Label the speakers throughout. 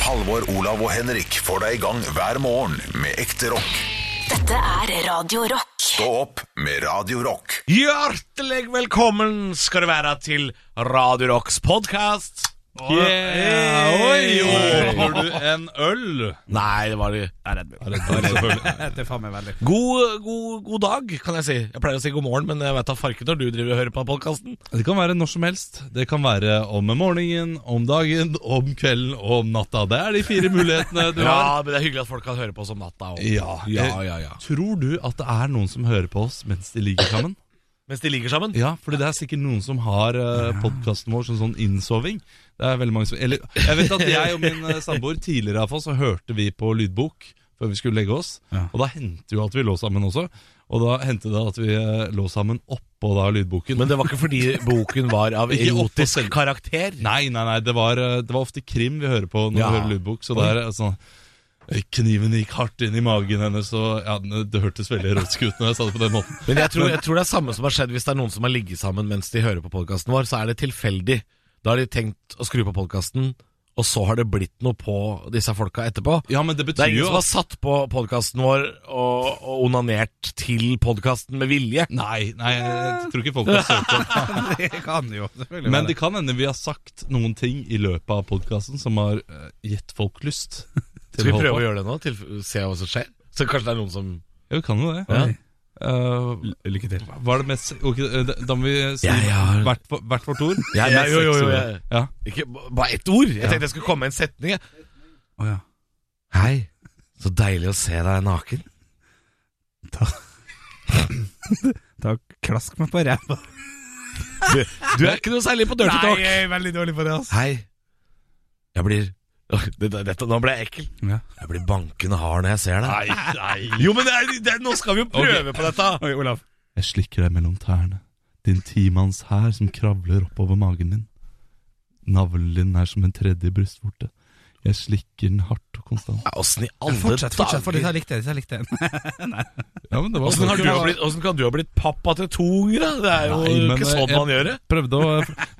Speaker 1: Halvor, Olav og Henrik får deg i gang hver morgen med ekte rock.
Speaker 2: Dette er Radio Rock.
Speaker 1: Stå opp med Radio Rock.
Speaker 3: Hjertelig velkommen skal du være til Radio Rocks podkast.
Speaker 4: Yeah. Oi,
Speaker 3: Oi.
Speaker 4: Håper du en øl?
Speaker 3: Nei, det var jeg er redd meg.
Speaker 4: Det er faen meg veldig
Speaker 3: God, god, god dag, kan jeg si. Jeg pleier å si god morgen, men jeg vet da farken når du driver og hører på podkasten.
Speaker 4: Det kan være når som helst. Det kan være om morgenen, om dagen, om kvelden og om natta. Det er de fire mulighetene du har.
Speaker 3: Ja, men det er hyggelig at folk kan høre på oss om natta. Og.
Speaker 4: Ja.
Speaker 3: ja, ja, ja.
Speaker 4: Tror du at det er noen som hører på oss mens de ligger sammen?
Speaker 3: Mens de ligger sammen.
Speaker 4: Ja, fordi det er sikkert noen som har uh, podkasten vår som sånn innsoving. Det er veldig mange som Eller jeg vet at jeg og min eh, samboer tidligere iallfall så hørte vi på lydbok før vi skulle legge oss. Og da hendte jo at vi lå sammen også. Og da hendte det at vi eh, lå sammen oppå da lydboken.
Speaker 3: Men det var ikke fordi boken var av
Speaker 4: Ikke opp på
Speaker 3: erotisk karakter.
Speaker 4: Nei, nei, nei, det var, eh, det var ofte krim vi hører på når
Speaker 3: Ja.
Speaker 4: vi hører lydbok. Så det er eh, sånn eh, Kniven gikk hardt inn i magen hennes, og ja, eh, det hørtes veldig erotisk ut når jeg sa det på den måten.
Speaker 3: Men jeg tror, jeg tror det er samme som har skjedd hvis det er noen som har ligget sammen mens de hører på podkasten vår, så er det tilfeldig. Da har de tenkt å skru på podkasten, og så har det blitt noe på disse folka etterpå.
Speaker 4: Ja, men det
Speaker 3: Det
Speaker 4: betyr
Speaker 3: er ingen
Speaker 4: jo
Speaker 3: som har
Speaker 4: at
Speaker 3: satt på podkasten vår og, og onanert til podkasten med vilje.
Speaker 4: Nei, nei, jeg tror ikke folk har søkt om
Speaker 5: Det kan jo selvfølgelig
Speaker 4: Men det
Speaker 5: være.
Speaker 4: kan hende vi har sagt noen ting i løpet av podkasten som har eh, gitt folk lyst.
Speaker 3: Skal vi prøve å gjøre det nå? Til, se hva som skjer? Så kanskje det er noen som
Speaker 4: Ja, vi kan jo det.
Speaker 3: Ja.
Speaker 4: Eh,
Speaker 5: Lykke til.
Speaker 4: hva er det mest ok, eh, da- Da må vi si
Speaker 3: Ja, ja.
Speaker 4: hvert, for- hvert vårt ord.
Speaker 3: Ja, ja, jo, jo, jo, jeg-
Speaker 4: Ja.
Speaker 3: Ikke b- bare ett ord! Jeg tenkte jeg skulle komme med en setning. jeg.
Speaker 5: Å ja.
Speaker 3: Hei, så deilig å se deg naken.
Speaker 5: Da klask meg på ræva.
Speaker 3: Du er ikke noe særlig på dirty talk.
Speaker 5: jeg er veldig dårlig på det, altså.
Speaker 3: Hei. Jeg blir Åh, det- det- Dette, Nå ble jeg ekkel.
Speaker 5: Ja.
Speaker 3: Jeg blir bankende hard når jeg ser deg.
Speaker 4: Nei, nei.
Speaker 3: Jo, men det er, det er, nå skal vi jo prøve på dette!
Speaker 5: Oi, Olav.
Speaker 4: Jeg slikker deg mellom tærne. Din timanns hær som kravler oppover magen min. Navlen din er som en tredje brystvorte. Jeg slikker den hardt og konstant.
Speaker 3: Ja, Åssen i alle
Speaker 5: Fortsett, fortsett, for dette
Speaker 3: dager
Speaker 5: likte jeg. Dette likte jeg.
Speaker 4: Ja, men det var
Speaker 3: Åssen har du blitt- åssen kan du ha blitt pappa til to unger, da? Det er jo
Speaker 4: Nei, men,
Speaker 3: ikke sånn
Speaker 4: eh,
Speaker 3: man gjør det.
Speaker 4: Prøvde å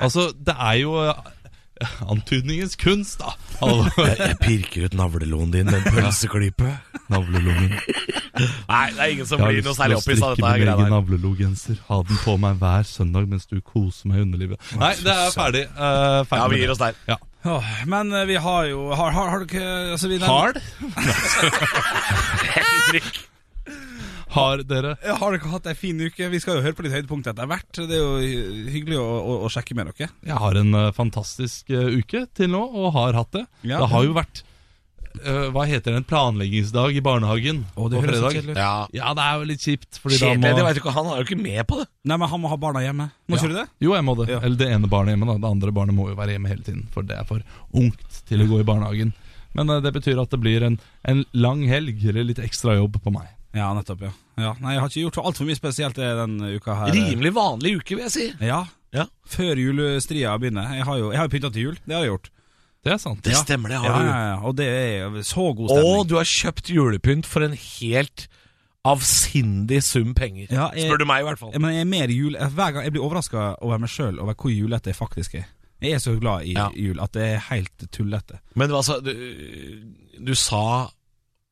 Speaker 4: Altså, det er jo eh, antydningens kunst, da. Halvor.
Speaker 3: Jeg, jeg pirker ut navleloen din med en pølseklype.
Speaker 4: Navlelungen.
Speaker 3: Nei, det er ingen som
Speaker 4: Jeg har
Speaker 3: blir noe
Speaker 4: lyst til
Speaker 3: særlig
Speaker 4: å
Speaker 3: oppgitt av
Speaker 4: strikke
Speaker 3: dette. her
Speaker 4: min
Speaker 3: greia
Speaker 4: egen
Speaker 3: der.
Speaker 4: navlelogenser. Ha den på meg hver søndag mens du koser meg i underlivet. Nei, det er ferdig. eh, ferdig
Speaker 3: Ja, vi
Speaker 4: med
Speaker 3: gir
Speaker 4: det.
Speaker 3: oss der.
Speaker 4: Ja.
Speaker 5: Åh, men eh, vi har jo Har, har, har du ikke altså, vi,
Speaker 4: Hard?
Speaker 3: Henrik.
Speaker 4: Har dere
Speaker 5: Ja, Har dere hatt ei en fin uke? Vi skal jo høre på litt høydepunkt etter hvert. Det er jo hy- hyggelig å, å, å sjekke med dere.
Speaker 4: Jeg har en eh, fantastisk eh, uke til nå, og har hatt det.
Speaker 5: Ja.
Speaker 4: Det har jo vært eh, Hva heter det? En planleggingsdag i barnehagen
Speaker 5: Å, det
Speaker 4: på
Speaker 5: høres så
Speaker 4: fredag.
Speaker 5: kjedelig ut.
Speaker 3: Ja.
Speaker 4: Ja, det er jo litt kjipt. Fordi da
Speaker 3: Kjedelig.
Speaker 4: må
Speaker 3: Det vet du ikke, han er jo ikke med på det.
Speaker 5: Nei, men han må ha barna hjemme. Må ikke du det?
Speaker 4: Jo, jeg må det.
Speaker 5: Ja.
Speaker 4: Eller det ene barnet hjemme, da. Det andre barnet må jo være hjemme hele tiden, for det er for ungt til å gå i barnehagen. Men eh, det betyr at det blir en, en lang helg, eller litt ekstra jobb på meg.
Speaker 5: Ja, nettopp, ja. ja. Nei, jeg har ikke gjort altfor mye spesielt eh, denne uka her.
Speaker 3: Rimelig vanlig uke, vil jeg si.
Speaker 5: Ja.
Speaker 3: Ja.
Speaker 5: Før julestria begynner. Jeg har jo, jeg har jo pynta til jul. Det har jeg gjort.
Speaker 4: Det er sant.
Speaker 3: Det stemmer, det
Speaker 5: Ja,
Speaker 3: har du.
Speaker 5: ja, ja. Og det er så god stemning.
Speaker 3: Og du har kjøpt julepynt for en helt avsindig sum penger.
Speaker 5: Ja, jeg-
Speaker 3: Spør du meg, i hvert fall.
Speaker 5: Ja, Men jeg er mer jul jeg- Hver gang jeg blir overraska over meg sjøl over hvor julete jeg faktisk er. Jeg er så glad i
Speaker 3: Ja.
Speaker 5: jul at det er helt tullete.
Speaker 3: Men det var altså, du, du sa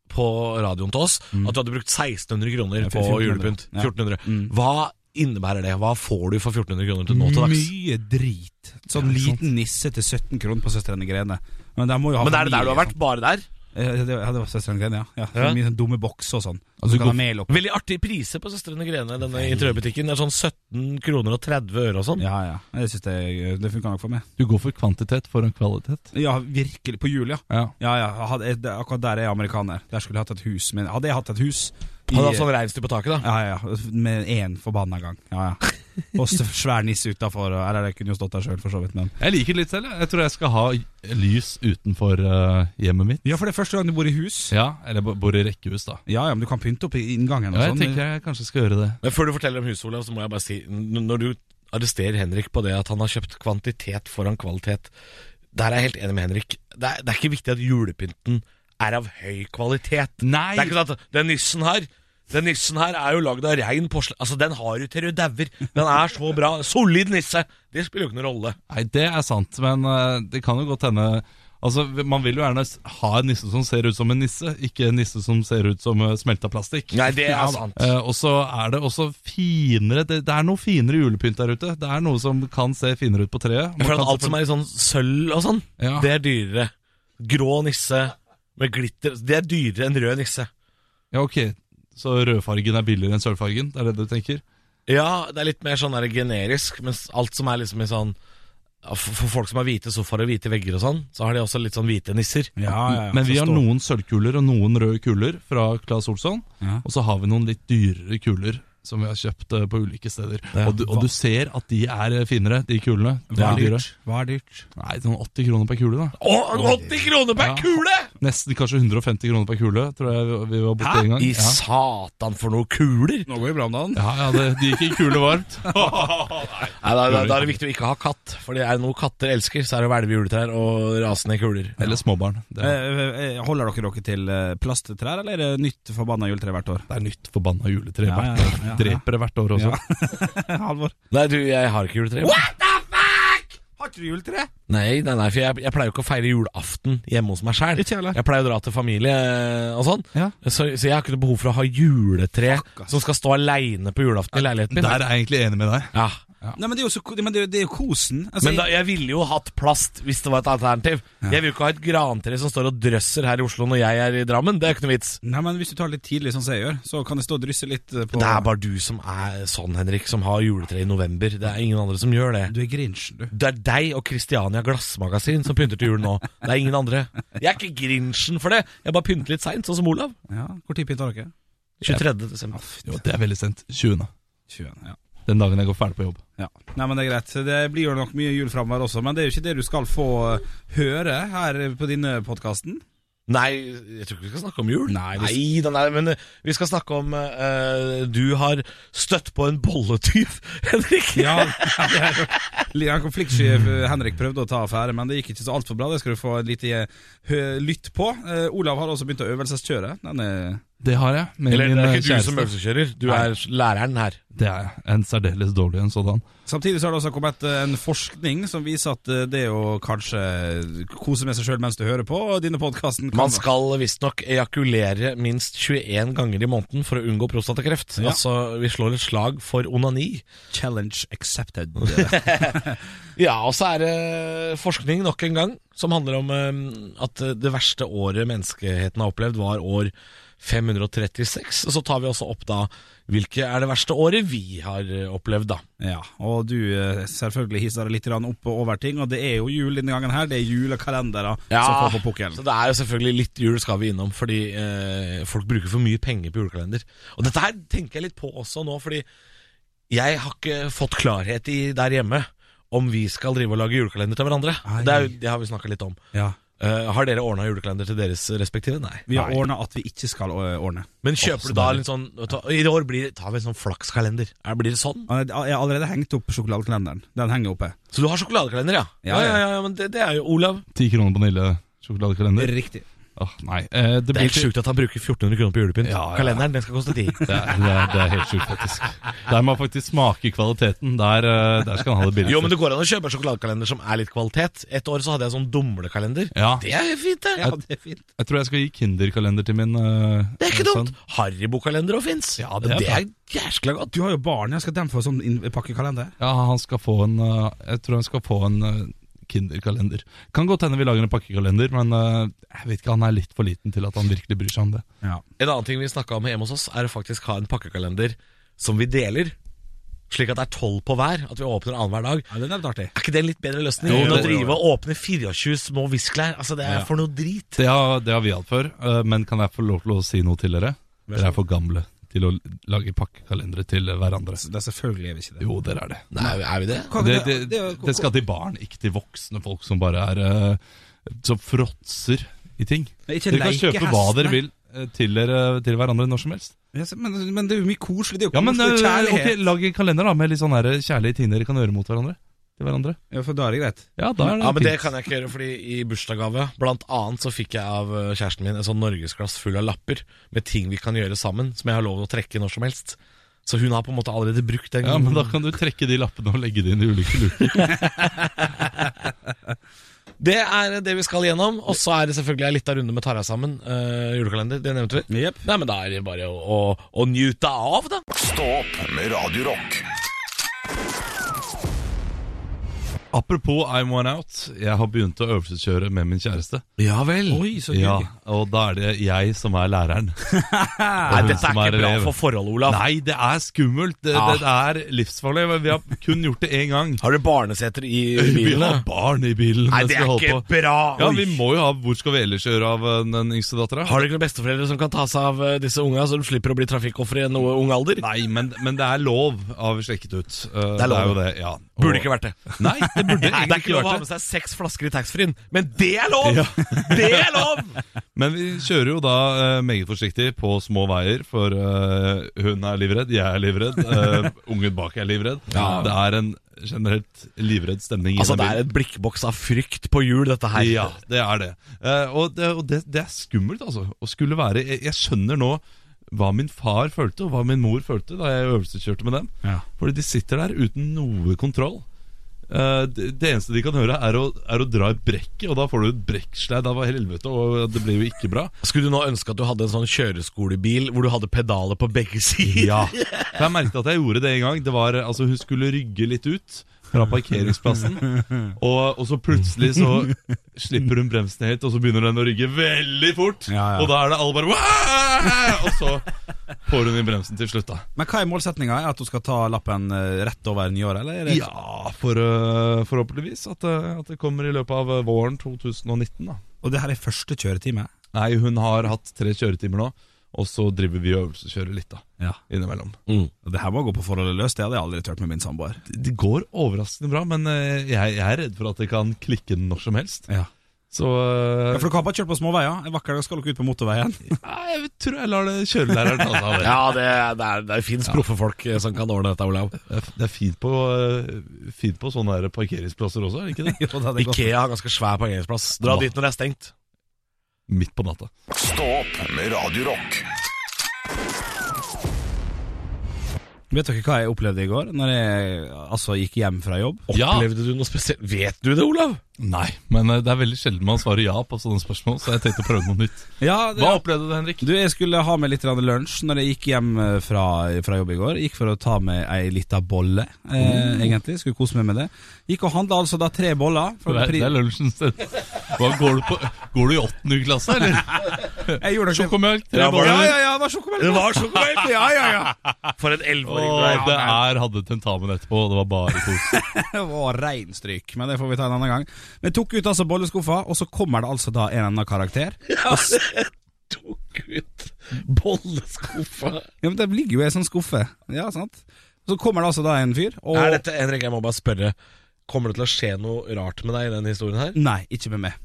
Speaker 3: på radioen til oss at du hadde brukt 1600 kroner
Speaker 5: Ja,
Speaker 3: på
Speaker 5: 1400.
Speaker 3: julepynt.
Speaker 5: Ja.
Speaker 3: 1400.
Speaker 5: Mm.
Speaker 3: Hva innebærer det? Hva får du for 1400 kroner til nå til dags?
Speaker 5: Mye drit. Sånn
Speaker 4: Ja, ikke sant.
Speaker 5: liten nisse til 17 kroner på Søstrene Grene. Men, de må jo ha
Speaker 3: Men er det der du har
Speaker 5: familie,
Speaker 3: vært? Bare der?
Speaker 5: sant? Ja, det, ja, det var Søstrene Grene, ja. ja.
Speaker 3: Ja.
Speaker 5: Mye sånn dumme bokser og sånn. Og
Speaker 4: Altså,
Speaker 5: så
Speaker 4: du går-
Speaker 5: karamell opp.
Speaker 3: Veldig artige priser på Søstrene Grene, denne interiørbutikken. Det er sånn 17 kroner og 30 øre og sånn.
Speaker 5: Ja, ja. Jeg synes det, det funka nok for meg.
Speaker 4: Du går for kvantitet foran kvalitet.
Speaker 5: Ja, virkelig. På jul, ja.
Speaker 4: Ja.
Speaker 5: Ja, ja. jeg Hadde, jeg, akkurat der er jeg amerikaner. Der skulle jeg hatt et hus. Men hadde jeg hatt et hus i-
Speaker 3: Hadde hatt sånn reinsdyr på taket, da.
Speaker 5: Ja, ja, ja, med én forbanna gang. Ja, ja. Og s- svær nisse utafor. Eller jeg kunne jo stått der sjøl, for så vidt. Men.
Speaker 4: Jeg liker det litt selv. jeg. Jeg tror jeg skal ha lys utenfor eh, hjemmet mitt.
Speaker 5: Ja, for det er første gang du bor i hus.
Speaker 4: Ja, Eller bo- bor i rekkehus, da.
Speaker 5: Ja, ja, men du kan pynte opp i inngangen. og
Speaker 4: Ja, jeg
Speaker 5: sånn.
Speaker 4: tenker jeg kanskje skal gjøre det.
Speaker 3: Men før du forteller om huset, Olav, så må jeg bare si n- Når du arresterer Henrik på det at han har kjøpt kvantitet foran kvalitet Der er jeg helt enig med Henrik. Det er, det er ikke viktig at julepynten er av høy kvalitet.
Speaker 4: Nei!
Speaker 3: Det er ikke sånn at den nissen her den nissen her er jo lagd av rein porselen. Altså, den har du til du dauer. Den er så bra. Solid nisse! Det spiller jo ikke noen rolle.
Speaker 4: Nei, det er sant, men eh, det kan jo godt hende Altså, Man vil jo gjerne s- ha en nisse som ser ut som en nisse, ikke en nisse som ser ut som uh, smelta plastikk.
Speaker 3: Nei, det er sant.
Speaker 4: Eh, og så er det også finere det, det er noe finere julepynt der ute. Det er noe som kan se finere ut på treet.
Speaker 3: Jeg føler at alt som er i sånn sølv og sånn,
Speaker 4: Ja.
Speaker 3: det er dyrere. Grå nisse med glitter, det er dyrere enn rød nisse.
Speaker 4: Ja, ok Så rødfargen er billigere enn sølvfargen? Det er det du tenker?
Speaker 3: Ja, det er litt mer sånn der generisk, mens alt som er liksom i sånn For for folk som har hvite sofaer og hvite vegger og sånn, så har de også litt sånn hvite nisser.
Speaker 5: Ja, ja, ja.
Speaker 4: Men vi har
Speaker 5: Forstår.
Speaker 4: noen sølvkuler og noen røde kuler fra Claes Olsson.
Speaker 5: Ja.
Speaker 4: Og så har vi noen litt dyrere kuler som vi har kjøpt eh, på ulike steder.
Speaker 3: Ja.
Speaker 4: Og, du, og du ser at de er eh, finere, de kulene. De
Speaker 5: Hva
Speaker 4: er
Speaker 5: er
Speaker 4: dyre.
Speaker 5: dyrt? Hva er dyrt?
Speaker 4: Nei, sånn 80 kroner per kule, da.
Speaker 3: Å, 80 kroner per
Speaker 4: Ja.
Speaker 3: kule!
Speaker 4: Nesten kanskje 150 kroner per kule, tror jeg vi- vi var borti en gang.
Speaker 3: I
Speaker 4: Ja.
Speaker 3: satan for noen kuler!
Speaker 5: Nå går det bra om dagen.
Speaker 4: Ja, ja, det, de gikk i kule varmt.
Speaker 3: Nei, da, da, da er det viktig å ikke ha katt, for er det noe katter elsker, så er det å hvelve i juletrær og rasende kuler.
Speaker 4: Eller småbarn. Det er,
Speaker 5: Eh, eh, Holder dere dere til eh, plasttrær, eller er det nytt forbanna juletre hvert år?
Speaker 4: det er nytt forbanna juletre
Speaker 5: Ja,
Speaker 4: hvert
Speaker 5: ja,
Speaker 4: år.
Speaker 5: ja, ja.
Speaker 4: Dreper det hvert år også.
Speaker 5: Halvor.
Speaker 3: Nei, du, jeg har ikke juletre.
Speaker 5: Har ikke du juletre?
Speaker 3: Nei, nei, nei, for jeg, jeg pleier jo ikke å feire julaften hjemme hos meg sjæl.
Speaker 5: Ikke heller.
Speaker 3: Jeg pleier å dra til familie eh, og sånn,
Speaker 5: Ja.
Speaker 3: så, så jeg har ikke noe behov for å ha juletre
Speaker 5: Fuck, ass.
Speaker 3: som skal stå aleine på julaften i leiligheten min.
Speaker 4: Der er jeg egentlig enig med deg.
Speaker 3: Ja.
Speaker 5: Nei, men det er jo, så, ko- men det er, jo- det er jo kosen. Altså,
Speaker 3: Men da, jeg ville jo hatt plast hvis det var et alternativ. Jeg vil jo ikke ha et grantre som står og drøsser her i Oslo når jeg er i Drammen. Det er jo ikke noe vits.
Speaker 5: Nei, men Hvis du tar litt tidlig, sånn som jeg gjør, så kan det stå og drysse litt eh, på
Speaker 3: Det er bare du som er sånn, Henrik, som har juletre i november. Det er ingen andre som gjør det.
Speaker 5: Du er grinchen, du.
Speaker 3: Det er deg og Kristiania Glassmagasin som pynter til jul nå. Det er ingen andre. Jeg er ikke grinchen for det. Jeg bare pynter litt seint, sånn som Olav.
Speaker 5: Ja, Hvor tid pynter dere?
Speaker 3: 23. desember.
Speaker 4: Jo, det er veldig sent. 20.
Speaker 5: 20. Ja.
Speaker 4: Den dagen jeg går ferdig på jobb.
Speaker 5: Ja. Nei, men Det er greit. Det blir jo nok mye jul framover også, men det er jo ikke det du skal få eh, høre her på denne podkasten.
Speaker 3: Nei, jeg tror ikke vi skal snakke om jul.
Speaker 5: Nei, vi-
Speaker 3: da, nei men eh, vi skal snakke om eh, Du har støtt på en bolletyv, Henrik.
Speaker 5: Ja, ja, konfliktsky eh, Henrik prøvde å ta affære, men det gikk ikke så altfor bra. Det skal du få et lite eh, hø- lytt på. Eh, Olav har også begynt å øvelseskjøre. Den er
Speaker 4: Det har jeg. Med
Speaker 3: Eller det
Speaker 4: min
Speaker 3: er
Speaker 4: eh,
Speaker 3: ikke du
Speaker 4: kjæreste.
Speaker 3: som øvelseskjører, du
Speaker 4: Nei.
Speaker 3: er læreren her.
Speaker 4: Det er jeg. En særdeles dårlig en sådan.
Speaker 5: Samtidig så har det også kommet eh, en forskning som viser at eh, det å kanskje kose med seg sjøl mens du hører på denne podkasten
Speaker 3: Man skal visstnok ejakulere minst 21 ganger i måneden for å unngå prostatakreft.
Speaker 5: Ja.
Speaker 3: Altså, vi slår et slag for onani.
Speaker 5: Challenge accepted.
Speaker 3: Ja, og så er det forskning nok en gang som handler om eh, at det verste året menneskeheten har opplevd, var år 536. Og så tar vi også opp da hvilke er det verste året vi har eh, opplevd, da.
Speaker 5: ja, og du eh, selvfølgelig hisser deg litt grann opp og over ting, og det er jo jul denne gangen her. Det er julekalendere som
Speaker 3: Ja,
Speaker 5: får på
Speaker 3: Så
Speaker 5: pukkelen.
Speaker 3: det er jo selvfølgelig litt jul skal vi innom, fordi eh, folk bruker for mye penger på julekalender. Og dette her tenker jeg litt på også nå, fordi jeg har ikke fått klarhet i der hjemme om vi skal drive og lage julekalender til hverandre.
Speaker 5: Nei.
Speaker 3: Det, er, jo- det har vi snakka litt om.
Speaker 5: Ja.
Speaker 3: Eh, har dere ordna julekalender til deres respektive? Nei.
Speaker 5: Vi har ordna at vi ikke skal eh, ordne.
Speaker 3: Men kjøper du da litt sånn ta, I år blir, det- tar vi en sånn flakskalender. Er- Blir det sånn?
Speaker 5: Jeg har allerede hengt opp sjokoladekalenderen. Den henger oppe.
Speaker 3: Så du har sjokoladekalender, ja?
Speaker 5: Ja, ja.
Speaker 3: men det, det er jo Olav.
Speaker 4: Ti kroner på Nille sjokoladekalender.
Speaker 5: Riktig.
Speaker 4: Åh, nei. Eh, det,
Speaker 3: Det er
Speaker 4: blir
Speaker 3: helt
Speaker 4: til-
Speaker 3: sjukt at han bruker 1400 kroner på julepynt.
Speaker 4: Ja, ja.
Speaker 3: Kalenderen den skal koste 10.
Speaker 4: Det er, det, er, det er helt sjukt, faktisk. Der må man faktisk smake kvaliteten. Der, eh, der skal han ha det billigste.
Speaker 3: Jo, men det går an å kjøpe en sjokoladekalender som er litt kvalitet. Et år så hadde jeg sånn dumlekalender.
Speaker 4: Ja.
Speaker 3: Det er fint, det.
Speaker 5: Ja, det er fint.
Speaker 4: Jeg tror jeg skal gi Kinderkalender til min eh,
Speaker 3: Det er ikke dumt.
Speaker 4: sønn.
Speaker 3: Haribo-kalender òg fins.
Speaker 4: Ja, det er
Speaker 3: det
Speaker 4: bra.
Speaker 3: er jæskla godt.
Speaker 5: Du har jo barn, jeg skal dem få sånn inn- pakkekalender?
Speaker 4: Ja, han skal få en eh, Jeg tror han skal få en eh, Kinderkalender. Kan godt hende vi lager en pakkekalender, men eh, jeg vet ikke, han er litt for liten til at han virkelig bryr seg om det.
Speaker 5: Ja.
Speaker 3: En annen ting vi snakka om hjemme hos oss, er å faktisk ha en pakkekalender som vi deler. Slik at det er tolv på hver. At vi åpner annenhver dag.
Speaker 5: ja den er litt artig.
Speaker 3: Er ikke det en litt bedre løsning
Speaker 5: Jo,
Speaker 3: enn å
Speaker 5: jo, jo, jo.
Speaker 3: drive og åpne 24 små viskelær? Altså, det er
Speaker 4: Ja.
Speaker 3: for noe drit.
Speaker 4: Det har, det har vi hatt før, eh, men kan jeg få lov til å si noe til dere? Dere er for gamle til å lage pakkekalendere til hverandre.
Speaker 5: Det er selvfølgelig er vi ikke det.
Speaker 4: Jo, dere er det.
Speaker 3: Nei, er vi det?
Speaker 5: Hva-
Speaker 4: Det, det,
Speaker 5: det-
Speaker 4: det,
Speaker 5: det-
Speaker 4: skal til barn, ikke til voksne folk som bare er eh, Som fråtser i ting.
Speaker 5: Men ikke
Speaker 4: Dere kan
Speaker 5: leike
Speaker 4: kjøpe hva dere vil
Speaker 5: hestene.
Speaker 4: eh, til, dere, til hverandre når som helst.
Speaker 5: Ja, så- Men, men det er jo mye koselig. Det er jo
Speaker 4: Ja, men eh,
Speaker 5: koselig kjærlighet.
Speaker 4: ok, Lag en kalender da med litt sånn her kjærlige ting dere kan gjøre mot hverandre. Til hverandre
Speaker 5: Ja, for da er det greit.
Speaker 4: Ja, da er det
Speaker 3: Ja, men Det
Speaker 4: fint.
Speaker 3: kan jeg ikke gjøre, fordi i bursdagsgave Blant annet så fikk jeg av eh, kjæresten min En sånn norgesglass full av lapper med ting vi kan gjøre sammen, som jeg har lov å trekke når som helst. Så hun har på en måte allerede brukt den.
Speaker 4: Ja, men Da kan du trekke de lappene og legge de inn i ulike luker.
Speaker 3: Det er det vi skal gjennom. Og så er det selvfølgelig en liten runde med Tara sammen. eh, julekalender, det nevnte vi.
Speaker 5: Jep.
Speaker 3: Nei, men da er det bare å, å, å njute av, da.
Speaker 1: Stå opp med Radio Rock.
Speaker 4: Apropos I'm One Out. Jeg har begynt å øvelseskjøre med min kjæreste.
Speaker 3: Ja vel.
Speaker 5: Oi, så gøy.
Speaker 4: Ja, Og da er det jeg som er læreren.
Speaker 3: Nei, dette er
Speaker 4: Som er
Speaker 3: ikke bra
Speaker 4: elev.
Speaker 3: for forholdet, Olav.
Speaker 4: Nei, det er skummelt. Det,
Speaker 3: Ja.
Speaker 4: det
Speaker 5: Ah.
Speaker 4: er livsfarlig. Vi har kun gjort det én gang.
Speaker 3: Har du barneseter i
Speaker 4: Vi
Speaker 3: bilen?
Speaker 4: har
Speaker 3: da?
Speaker 4: barn i bilen.
Speaker 3: Nei,
Speaker 4: mens
Speaker 3: det
Speaker 4: vi
Speaker 3: er
Speaker 4: holder
Speaker 3: ikke
Speaker 4: på.
Speaker 3: bra.
Speaker 4: Ja,
Speaker 3: Oi.
Speaker 4: vi må jo ha Hvor skal vi ellers gjøre av eh, den yngste dattera?
Speaker 3: Har du ikke noen besteforeldre som kan ta seg av eh, disse unga, så du slipper å bli trafikkoffer i en noe ung alder?
Speaker 4: Nei, men, men det er lov av slekket ut. Eh,
Speaker 3: Det er lov.
Speaker 4: jo det, ja.
Speaker 3: Burde ikke vært det.
Speaker 4: Nei, det burde
Speaker 3: Det er
Speaker 4: egentlig
Speaker 3: ikke
Speaker 4: ikke
Speaker 3: lov å ha
Speaker 4: vært
Speaker 3: med
Speaker 4: det.
Speaker 3: seg seks flasker i taxfree-en, men det er lov!
Speaker 4: Ja.
Speaker 3: Det er lov!
Speaker 4: Men vi kjører jo da eh, meget forsiktig på små veier, for eh, hun er livredd, jeg er livredd, eh, ungen bak er livredd.
Speaker 3: Ja.
Speaker 4: Det er en generelt livredd stemning. i
Speaker 3: Altså,
Speaker 4: den
Speaker 3: det
Speaker 4: bilen.
Speaker 3: er et blikkboks av frykt på hjul, dette her.
Speaker 4: Ja, det er det. Eh, og det, og det, det er skummelt, altså. Å skulle være jeg, jeg skjønner nå hva min far følte, og hva min mor følte da jeg øvelseskjørte med dem.
Speaker 5: Ja.
Speaker 4: Fordi de sitter der uten noe kontroll. Eh, det, det eneste de kan høre, er å, er å dra i brekket, og da får du et brekksledd av helvete, og det blir jo ikke bra.
Speaker 3: Skulle du nå ønske at du hadde en sånn kjøreskolebil hvor du hadde pedaler på begge sider?
Speaker 4: Ja. For jeg merket at jeg gjorde det en gang. Det var, altså, hun skulle rygge litt ut fra parkeringsplassen, og, og så plutselig så slipper hun bremsen helt, og så begynner den å rygge veldig fort.
Speaker 5: Ja, ja.
Speaker 4: Og da er det alle bare "Wah!" Og så får hun i bremsen til slutt, da.
Speaker 5: Men hva er målsetninga? Er at du skal ta lappen eh, rett over nyåret, eller? Er det-
Speaker 4: Ja, for, øh, forhåpentligvis at, øh, at det kommer i løpet av øh, våren 2019, da.
Speaker 5: Og det her er første kjøretime?
Speaker 4: Nei, hun har hatt tre kjøretimer nå, og så driver vi og øvelseskjører litt, da.
Speaker 5: Ja.
Speaker 4: Innimellom.
Speaker 5: Og det her må gå på forholdet løs, det hadde jeg aldri tørt med min samboer.
Speaker 4: Det går overraskende bra, men øh, jeg, jeg er redd for at det kan klikke når som helst.
Speaker 5: Ja.
Speaker 4: Så eh,
Speaker 5: Ja, for dere har bare kjørt på småveier. En vakker dag skal dere ut på motorveien.
Speaker 4: Nei, jeg tror jeg lar det altså. kjørelæreren ta seg av det.
Speaker 3: Ja, det, det, er- det fins proffe folk eh, som kan ordne dette, Olav.
Speaker 4: Det er- Det er fint på, eh, fint på sånne der parkeringsplasser også, er det ikke det?
Speaker 5: Jo, det hadde gått.
Speaker 3: Ikea har ganske svær parkeringsplass. Dra dit når det er stengt.
Speaker 4: Midt på natta.
Speaker 1: Stå opp med Radio Rock.
Speaker 5: Vet dere hva jeg opplevde i går? Når jeg altså, gikk hjem fra jobb?
Speaker 4: Ja.
Speaker 3: Opplevde du noe spesielt? Vet du det, Olav?
Speaker 4: Nei, men eh, det er veldig sjelden man svarer ja på sånne spørsmål, så jeg tenkte å prøve noe nytt.
Speaker 5: Ja,
Speaker 4: Hva opplevde du, Henrik?
Speaker 5: Du, Jeg skulle ha med litt grann lunsj når jeg gikk hjem eh, fra, fra jobb i går. Gikk for å ta med ei lita bolle, eh, egentlig. Skulle kose meg med det. Gikk og handla altså da tre boller. For
Speaker 4: Det er,
Speaker 5: pri-
Speaker 4: det er lunsjen sted. Hva, går, du på, går du i åttende klasse, eller?
Speaker 5: jeg gjorde det
Speaker 4: Sjokomelk? tre
Speaker 3: Ja, var
Speaker 5: Ja,
Speaker 3: det-
Speaker 4: boller?
Speaker 5: ja, ja, det var sjokomelk!
Speaker 3: var sjokomelk! Ja, ja, ja. For en elleveåring du
Speaker 4: Å,
Speaker 3: er.
Speaker 4: det er hadde tentamen etterpå, og det var bare kos.
Speaker 5: Det var reinstryk, men det får vi ta en annen gang. Men jeg tok ut altså bolleskuffa, og så kommer det altså da en annen karakter.
Speaker 3: Tok ut bolleskuffa.
Speaker 5: Ja, men Det ligger jo i ei sånn skuffe. Ja, sant? Så kommer det altså da en fyr, og
Speaker 3: Er dette, Henrik, jeg må bare spørre. Kommer det til å skje noe rart med deg i den historien her?
Speaker 5: Nei, ikke med meg.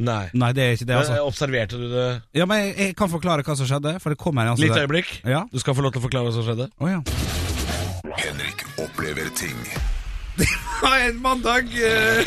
Speaker 3: Nei.
Speaker 5: Nei, det er ikke det, altså.
Speaker 3: Eh, Observerte du det?
Speaker 5: Ja, men jeg, jeg kan forklare hva som skjedde, for det kommer en altså
Speaker 3: Litt
Speaker 5: der-
Speaker 3: øyeblikk.
Speaker 5: Ja.
Speaker 3: Du skal få lov til å forklare hva som skjedde.
Speaker 5: Å ja.
Speaker 1: Henrik opplever ting
Speaker 5: en mandag
Speaker 3: eh?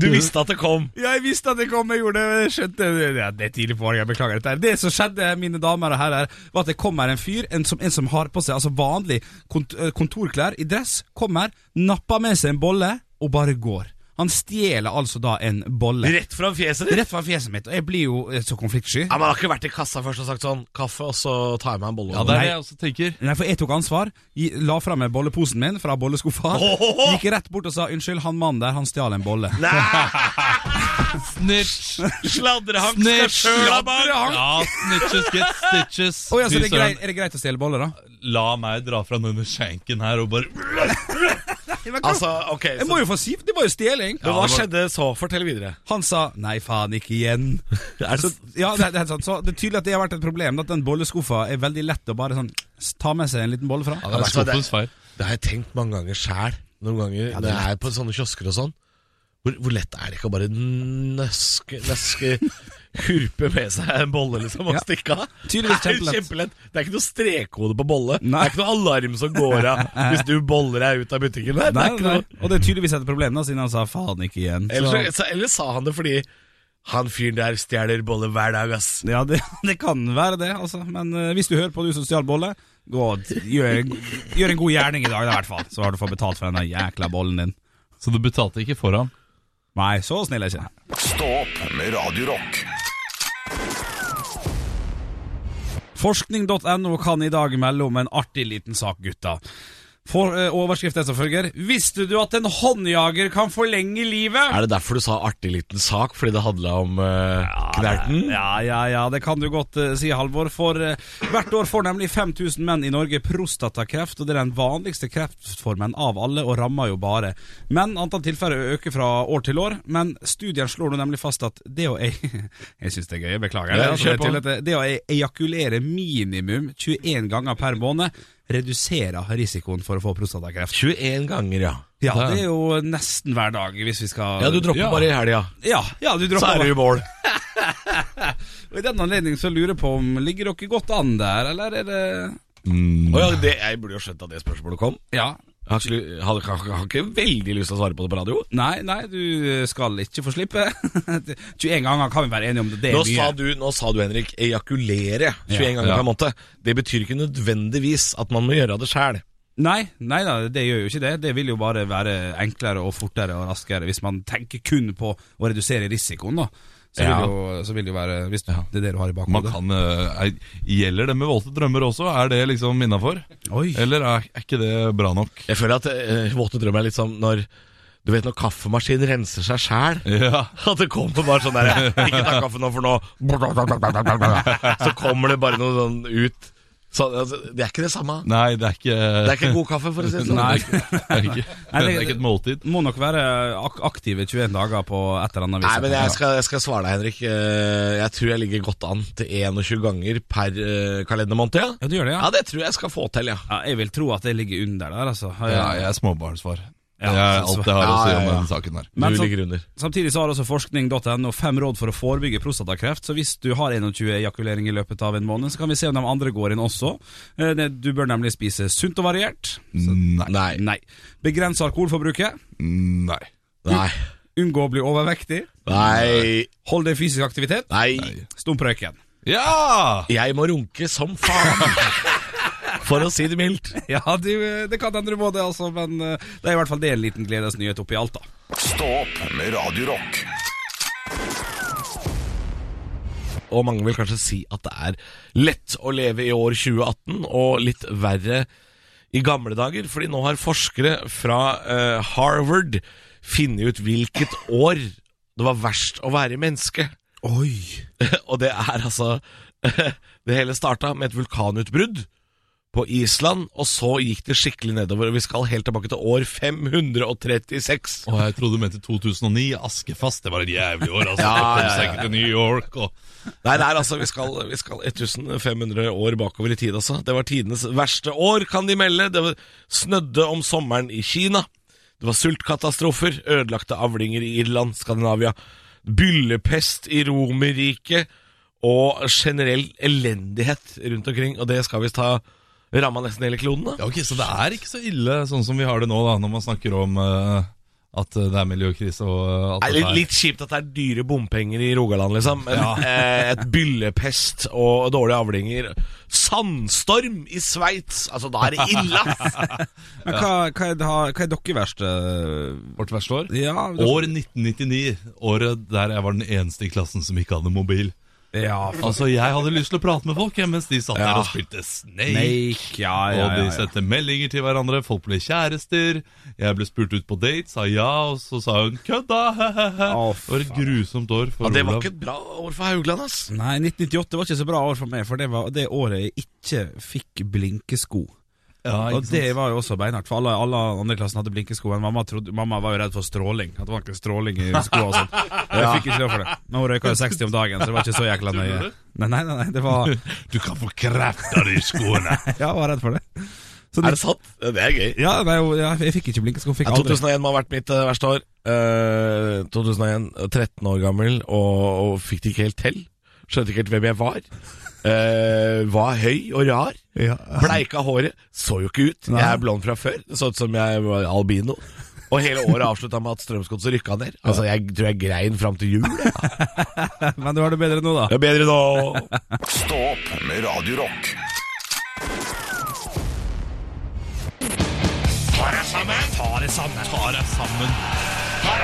Speaker 3: Du visste at det kom.
Speaker 5: Jeg visste at det kom, jeg gjorde det. Skjønte det. Ja, det er tidlig på året, jeg beklager dette. her. Det som skjedde, mine damer og herrer, var at det kommer en fyr, en som, en som har på seg altså vanlig kont eh, kontorklær i dress, kommer, napper med seg en bolle og bare går. Han stjeler altså da en bolle.
Speaker 3: Rett fra fjeset ditt.
Speaker 5: Rett fra fjeset mitt, og jeg blir jo eh, så konfliktsky.
Speaker 3: Ja, men har ikke vært i kassa først og sagt sånn Kaffe, og så tar jeg meg en bolle.
Speaker 4: Ja, det er det jeg også tenker.
Speaker 5: Nei, for jeg tok ansvar. gi- La fra meg bolleposen min fra bolleskuffa.
Speaker 3: Åhåhå!
Speaker 5: Gikk rett bort og sa 'unnskyld, han mannen der, han stjal en bolle'.
Speaker 4: Snitch!
Speaker 3: Sladrehank skal
Speaker 4: Snitch!
Speaker 3: sjøl ha bak!
Speaker 4: Ja, snitches get stitches.
Speaker 5: Oi, altså,
Speaker 4: Fy
Speaker 5: det er,
Speaker 4: søren.
Speaker 5: greit, er det greit å stjele boller, da?
Speaker 4: La meg dra fra denne skjenken her og bare
Speaker 3: Altså, ok
Speaker 5: jeg
Speaker 3: så,
Speaker 5: må jo få si Det var jo stjeling!
Speaker 3: Men hva skjedde så? Fortell videre.
Speaker 5: Han sa 'nei, faen, ikke igjen'. Så, ja, det, det, er sant. Så det er tydelig at det har vært et problem. At den bolleskuffa er veldig lett å bare sånn ta med seg en liten bolle fra.
Speaker 4: Det er skuffens feil.
Speaker 3: Det har jeg tenkt mange ganger sjæl. Noen ganger når jeg er på sånne kiosker og sånn. Hvor, hvor lett er det ikke å bare nøske, nøske Hurpe med seg en bolle liksom og
Speaker 5: Ja.
Speaker 3: stikke av?
Speaker 5: Tydeligvis
Speaker 3: Det er
Speaker 5: kjempelett.
Speaker 3: kjempelett. Det er ikke noe strekkode på bolle.
Speaker 5: Nei.
Speaker 3: Det er ikke noe alarm som går av hvis du boller deg ut av butikken. Der.
Speaker 5: Nei,
Speaker 3: det er ikke
Speaker 5: nei.
Speaker 3: noe.
Speaker 5: Og det er tydeligvis et problem, da, siden han sa 'faen, ikke igjen'.
Speaker 3: Eller, så, eller sa han det fordi han fyren der stjeler boller hver dag, ass.
Speaker 5: Ja, det, det kan være det, altså. Men eh, hvis du hører på du som stjal bolle, gå og gjør, gjør en god gjerning i dag, da, i hvert fall. Så har du fått betalt for den der jækla bollen din.
Speaker 4: Så du betalte ikke for ham,
Speaker 5: Nei, så snill er jeg ikke.
Speaker 1: Stå opp med Radio Rock.
Speaker 5: Forskning.no kan i dag melde om en artig liten sak, gutta. For, eh, overskriften er som følger Visste du at en håndjager kan forlenge livet?
Speaker 3: Er det derfor du sa artig liten sak? Fordi det handla om eh, knerten?
Speaker 5: Ja, ja, ja, det kan du godt eh, si, Halvor. For eh, hvert år får nemlig 5000 menn i Norge prostatakreft, og det er den vanligste kreftformen av alle, og rammer jo bare. Men antall tilfeller øker fra år til år. Men studien slår nå nemlig fast at det å ei... Jeg syns det er gøy, jeg beklager.
Speaker 3: Ja,
Speaker 5: det, altså,
Speaker 3: kjør
Speaker 5: det,
Speaker 3: på.
Speaker 5: er tydelig at det- det å ei- ejakulere minimum 21 ganger per måned reduserer risikoen for å få prostatakreft.
Speaker 3: 21 ganger, ja.
Speaker 5: Ja, det er jo nesten hver dag, hvis vi skal
Speaker 3: Ja, du dropper
Speaker 4: Ja.
Speaker 3: bare i helga.
Speaker 5: Ja, ja, du dropper
Speaker 3: Så er du i mål.
Speaker 5: Og I den anledning så lurer jeg på om ligger dere godt an der, eller er det
Speaker 4: Mm.
Speaker 3: Å ja, det, jeg burde jo skjønt at det spørsmålet kom.
Speaker 5: Ja.
Speaker 3: Jeg har ikke, ly- har, har, har ikke veldig lyst til å svare på det på radio.
Speaker 5: Nei, nei, du skal ikke få slippe. 21 ganger kan vi være enige om det. Det er
Speaker 3: Nå
Speaker 5: mye.
Speaker 3: sa, du, nå sa du, Henrik, ejakulere 21
Speaker 5: Ja,
Speaker 3: ganger
Speaker 4: ja.
Speaker 3: per måned. Det betyr ikke nødvendigvis at man må gjøre det sjæl.
Speaker 5: Nei, nei da, det gjør jo ikke det. Det vil jo bare være enklere og fortere og raskere hvis man tenker kun på å redusere risikoen, da. Så,
Speaker 3: Ja.
Speaker 5: vil, jo, så vil det jo være Hvis det er det du har i
Speaker 4: Man
Speaker 5: bakhodet.
Speaker 4: kan, eh, er- Gjelder det med våte drømmer også? Er det liksom innafor?
Speaker 5: Oi.
Speaker 4: Eller er, er ikke det bra nok?
Speaker 3: Jeg føler at eh, våte drøm er litt som når Du vet når kaffemaskinen renser seg sjæl?
Speaker 4: Ja,
Speaker 3: At det kommer bare sånn der Ikke ta kaffe nå, for nå Så kommer det bare noe sånn ut. Så, altså, det er ikke det samme.
Speaker 4: Nei, det er ikke
Speaker 3: Det er ikke god kaffe, for å si det sånn.
Speaker 4: Nei, det er ikke, det er ikke,
Speaker 5: Nei,
Speaker 4: det
Speaker 5: det-
Speaker 4: er ikke et måltid.
Speaker 5: Må nok være ak aktive 21 dager på et eller annet vis.
Speaker 3: Nei, men jeg skal, jeg skal svare deg, Henrik. Eh, Jeg tror jeg ligger godt an til 21 ganger per eh, kalendermåned. Ja.
Speaker 5: Ja, du gjør det, ja?
Speaker 3: ja, det tror jeg jeg skal få til, ja.
Speaker 5: ja? Jeg vil tro at jeg ligger under der, altså.
Speaker 4: Ja, jeg er småbarnsfar.
Speaker 5: Ja,
Speaker 4: Det er
Speaker 5: så-
Speaker 4: alt jeg har å si
Speaker 3: Ja, ja,
Speaker 4: om
Speaker 3: ja.
Speaker 4: denne saken her.
Speaker 5: Men
Speaker 3: du
Speaker 5: så-
Speaker 3: ligger under.
Speaker 5: Samtidig så har også forskning.no fem råd for å forebygge prostatakreft. Så hvis du har 21 ejakulering i løpet av en måned, så kan vi se om de andre går inn også. Eh, det- Du bør nemlig spise sunt og variert.
Speaker 4: Nei.
Speaker 3: Nei.
Speaker 5: Nei. Begrense alkoholforbruket.
Speaker 4: Nei.
Speaker 3: Nei.
Speaker 5: Unngå å bli overvektig.
Speaker 3: Nei.
Speaker 5: Hold deg i fysisk aktivitet.
Speaker 3: Nei.
Speaker 5: Stump røyken.
Speaker 4: Ja!
Speaker 3: Jeg må runke som faen. For å si det mildt.
Speaker 5: Ja, du, eh, det kan hende du må det, altså, men eh, det er i hvert fall det en liten gledesnyhet oppi alt, da.
Speaker 1: Stå opp med Radio Rock.
Speaker 3: Og mange vil kanskje si at det er lett å leve i år 2018, og litt verre i gamle dager. Fordi nå har forskere fra eh, Harvard funnet ut hvilket år det var verst å være menneske.
Speaker 5: Oi.
Speaker 3: Og det er altså Det hele starta med et vulkanutbrudd på Island, og så gikk det skikkelig nedover. Og vi skal helt tilbake til år 536.
Speaker 4: Og jeg trodde du mente 2009. Askefast. Det var et jævlig år, altså.
Speaker 3: Ja,
Speaker 4: Jeg kom
Speaker 3: ja,
Speaker 4: seg
Speaker 3: ja.
Speaker 4: ikke til New York og
Speaker 3: Nei, det er altså, vi skal, vi skal 1500 år bakover i tid, altså. Det var tidenes verste år, kan de melde. Det var snødde om sommeren i Kina. Det var sultkatastrofer, ødelagte avlinger i Irland, Skandinavia, byllepest i Romerriket og generell elendighet rundt omkring. Og det skal visst ha ramma nesten hele kloden, da.
Speaker 4: Ja, ok, Så det er ikke så ille sånn som vi har det nå, da, når man snakker om eh, at det er miljøkrise og eh, alt
Speaker 3: Nei,
Speaker 4: dette
Speaker 3: litt,
Speaker 4: her.
Speaker 3: litt kjipt at det er dyre bompenger i Rogaland, liksom. Men eh, et byllepest og dårlige avlinger. Sandstorm i Sveits! Altså, da er det ille! ass.
Speaker 5: Men hva, hva, er, det- hva er dere verst? eh,
Speaker 4: Vårt verste år.
Speaker 5: Ja, dere-
Speaker 4: År 1999. Året der jeg var den eneste i klassen som ikke hadde mobil.
Speaker 5: ja, faen.
Speaker 4: Altså, jeg hadde lyst til å prate med folk, jeg, mens de satt der
Speaker 3: Ja.
Speaker 4: og spilte Snake.
Speaker 5: Snake, ja, ja,
Speaker 4: Og de
Speaker 5: ja, ja.
Speaker 4: sendte meldinger til hverandre, folk ble kjærester. Jeg ble spurt ut på date, sa ja, og så sa hun 'kødda'. hehehe.
Speaker 5: Å,
Speaker 4: det var et grusomt år for
Speaker 3: Ja, det var
Speaker 4: Olav.
Speaker 3: ikke et bra år for Haugland, ass.
Speaker 5: Nei, 1998 var ikke så bra år for meg, for det var det året jeg ikke fikk blinkesko.
Speaker 4: Ja, ikke
Speaker 5: Og
Speaker 4: sant?
Speaker 5: det var jo også beinhardt, for alle, alle andre klassen hadde blinkesko. Men mamma, trodde, mamma var jo redd for stråling. At det var ikke stråling i skoene og sånn. Jeg fikk ikke lov for det. Men hun røyka jo 60 om dagen, så det var ikke så jækla nøye.
Speaker 4: Tror du det?
Speaker 5: Nei, nei, nei, nei, det var
Speaker 4: Du kan få kreft av de skoene!
Speaker 5: Ja, jeg var redd for det. Så
Speaker 3: Er det sant? Ja, Det er gøy.
Speaker 5: ja, nei, jo, ja, jeg fikk ikke blinkesko. Fikk
Speaker 3: Ja,
Speaker 5: aldri.
Speaker 3: 2001 må ha vært mitt eh, verste år. Eh, 2001, 13 år gammel, og, og fikk det ikke helt til. Skjønte ikke helt hvem jeg var. Eh, var høy og rar.
Speaker 5: Ja.
Speaker 3: Bleika håret. Så jo ikke ut. Jeg er blond fra før. Det så ut som jeg var albino. Og hele året avslutta med at Strømsgodset rykka ned. Altså, Jeg tror jeg grein fram til jul. Det
Speaker 5: Men du har det bedre nå, da.
Speaker 3: er bedre nå.
Speaker 1: Stå opp med Radio Rock.
Speaker 4: Ta deg sammen! Ta deg sammen! Ta deg sammen! Ta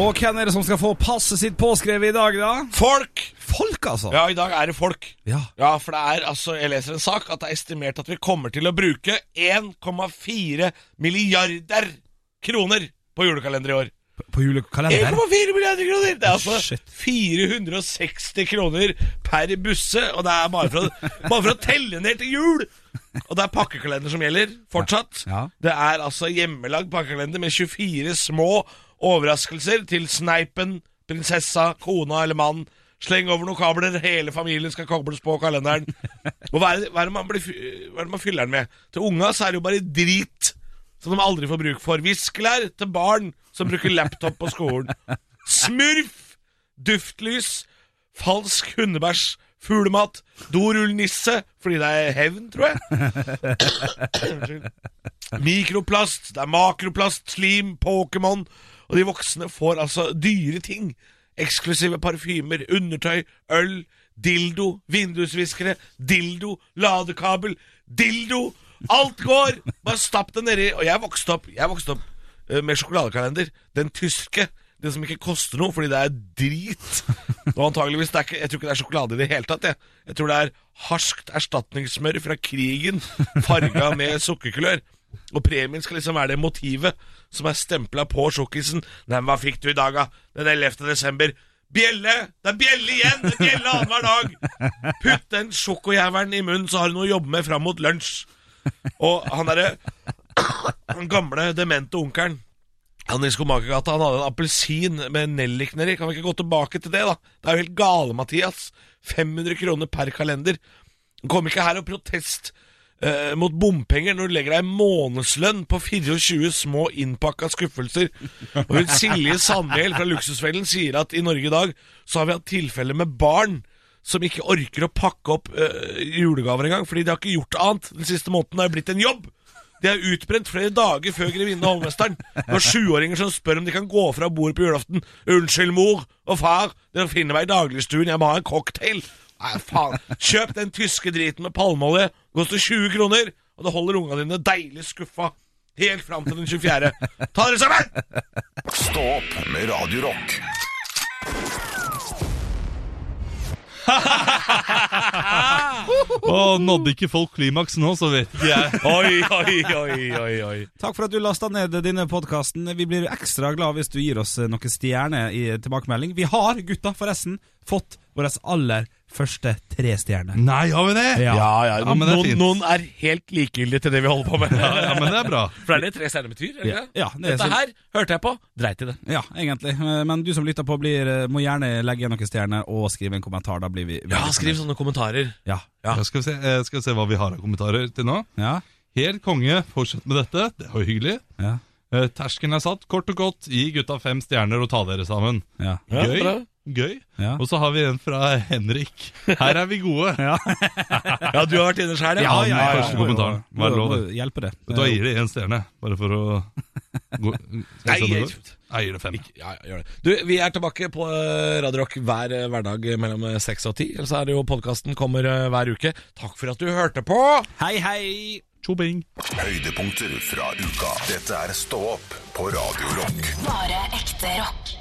Speaker 5: Og hvem er det som skal få passet sitt påskrevet i dag, da?
Speaker 3: Folk!
Speaker 5: Folk, altså!
Speaker 3: Ja, i dag er det folk.
Speaker 5: Ja.
Speaker 3: Ja, for det er altså, jeg leser en sak at det er estimert at vi kommer til å bruke 1,4 milliarder kroner på julekalender i år.
Speaker 5: På julekalender.
Speaker 3: 1,4 milliarder kroner! Det er altså
Speaker 5: Shit.
Speaker 3: 460 kroner per busse, og det er bare for, å, bare for å telle ned til jul! Og det er pakkekalender som gjelder, fortsatt.
Speaker 5: Ja.
Speaker 3: Det er altså hjemmelagd pakkekalender med 24 små overraskelser til sneipen, prinsessa, kona eller mannen. Sleng over noen kabler, hele familien skal kobles på kalenderen. Og hva er det, hva er det, man, blir, fy- hva er det man fyller den med? Til unga så er det jo bare drit som de aldri får bruk for. Viskelær til barn som bruker laptop på skolen. Smurf! Duftlys, falsk hundebæsj, fuglemat, dorullnisse, fordi det er hevn, tror jeg. Unnskyld. Mikroplast, det er makroplast, slim, Pokémon Og de voksne får altså dyre ting Eksklusive parfymer, undertøy, øl, dildo, vindusviskere, dildo, ladekabel, dildo Alt går, bare stapp det nedi Og jeg vokste opp, jeg vokste opp eh, med sjokoladekalender Den tyske, den som ikke koster noe fordi det er drit Og antageligvis, det er ikke, jeg tror ikke det er sjokolade i det hele tatt jeg. jeg tror det er harskt erstatningssmør fra krigen Farga med sukkerkulør og premien skal liksom være det motivet som er stempla på sjokkisen. Nei, men hva fikk du i dag, da? Den 11. desember. Bjelle! Det er bjelle igjen! Det er bjelle annenhver dag! Putt den sjokojævelen i munnen, så har du noe å jobbe med fram mot lunsj. Og han derre Han gamle, demente onkelen han i Skomakergata han hadde en appelsin med nellikner i. Kan vi ikke gå tilbake til det, da? Det er jo helt gale, Mathias. 500 kroner per kalender. Kom ikke her og protest eh, mot bompenger når du legger deg en månedslønn på 24 små innpakka skuffelser. Og hun Silje Sandhjell fra Luksusfellen sier at i Norge i dag så har vi hatt tilfeller med barn som ikke orker å pakke opp eh, julegaver engang, fordi de har ikke gjort annet den siste måneden. Det har blitt en jobb! De er utbrent flere dager før grevinne og hovmesteren. Det var sjuåringer som spør om de kan gå fra bordet på julaften. 'Unnskyld, mor og far, dere finner meg i dagligstuen, jeg må ha en cocktail.' Nei, faen. Kjøp den tyske driten med palmeolje. Det Koster 20 kroner, og det holder unga dine deilig skuffa helt fram til den 24. Ta dere sammen!
Speaker 1: Stå opp med Radio Rock.
Speaker 4: Og nådde ikke folk klimaks nå, så vet ikke jeg.
Speaker 6: Oi, oi, oi, oi, oi.
Speaker 5: Takk for at du lasta ned denne podkasten. Vi blir ekstra glad hvis du gir oss eh, noen stjerner i tilbakemelding. Vi har, gutta, forresten, fått vår aller første tre stjerner.
Speaker 4: Nei, har vi det?
Speaker 5: Ja.
Speaker 6: Ja, ja,
Speaker 4: Ja, men det er
Speaker 6: noen,
Speaker 4: fint.
Speaker 6: noen er helt likegyldige til det vi holder på med.
Speaker 4: Ja, ja, men det er bra.
Speaker 6: For det er det tre stjerner betyr? er det ikke det?
Speaker 5: Ja, det er
Speaker 6: Dette
Speaker 5: så-
Speaker 6: her hørte jeg på, dreit i det.
Speaker 5: Ja, egentlig. Eh, Men du som lytter på, blir, eh, må gjerne legge igjen noen stjerner og skrive en kommentar. Da blir vi veldig
Speaker 6: Ja, skriv
Speaker 5: fornøyd.
Speaker 6: sånne kommentarer.
Speaker 5: Ja.
Speaker 6: Ja.
Speaker 4: Ja, skal, vi se, eh, skal vi se hva vi har av kommentarer til nå.
Speaker 5: Ja.
Speaker 4: Helt konge, fortsett med dette. Det var jo hyggelig.
Speaker 5: Ja.
Speaker 4: Eh, Terskelen er satt, kort og godt. Gi gutta fem stjerner og ta dere sammen.
Speaker 5: Ja.
Speaker 6: Ja,
Speaker 4: Gøy.
Speaker 6: bra.
Speaker 4: Gøy.
Speaker 5: Ja.
Speaker 4: Og så har vi en fra Henrik. Her er vi gode.
Speaker 6: Ja, du har vært inne sjæl,
Speaker 4: Ja, ja, ja. Første kommentaren. Hva er
Speaker 5: Må-
Speaker 4: lov,
Speaker 5: må
Speaker 4: det?
Speaker 5: Hjelpe det.
Speaker 4: Da gir det én stjerne, bare for å gå, Skal jeg
Speaker 6: Nei,
Speaker 4: sende det? Jeg gir det fem.
Speaker 6: Ja, ja, gjør det. Du, vi er tilbake på eh, Radio Rock hver eh, hverdag mellom eh, 6 og 10. Så er det jo podkasten kommer eh, hver uke. Takk for at du hørte på!
Speaker 5: Hei, hei!
Speaker 4: Tjobing.
Speaker 1: Høydepunkter fra uka. Dette er Stå opp på Radio Rock.
Speaker 2: Bare ekte rock.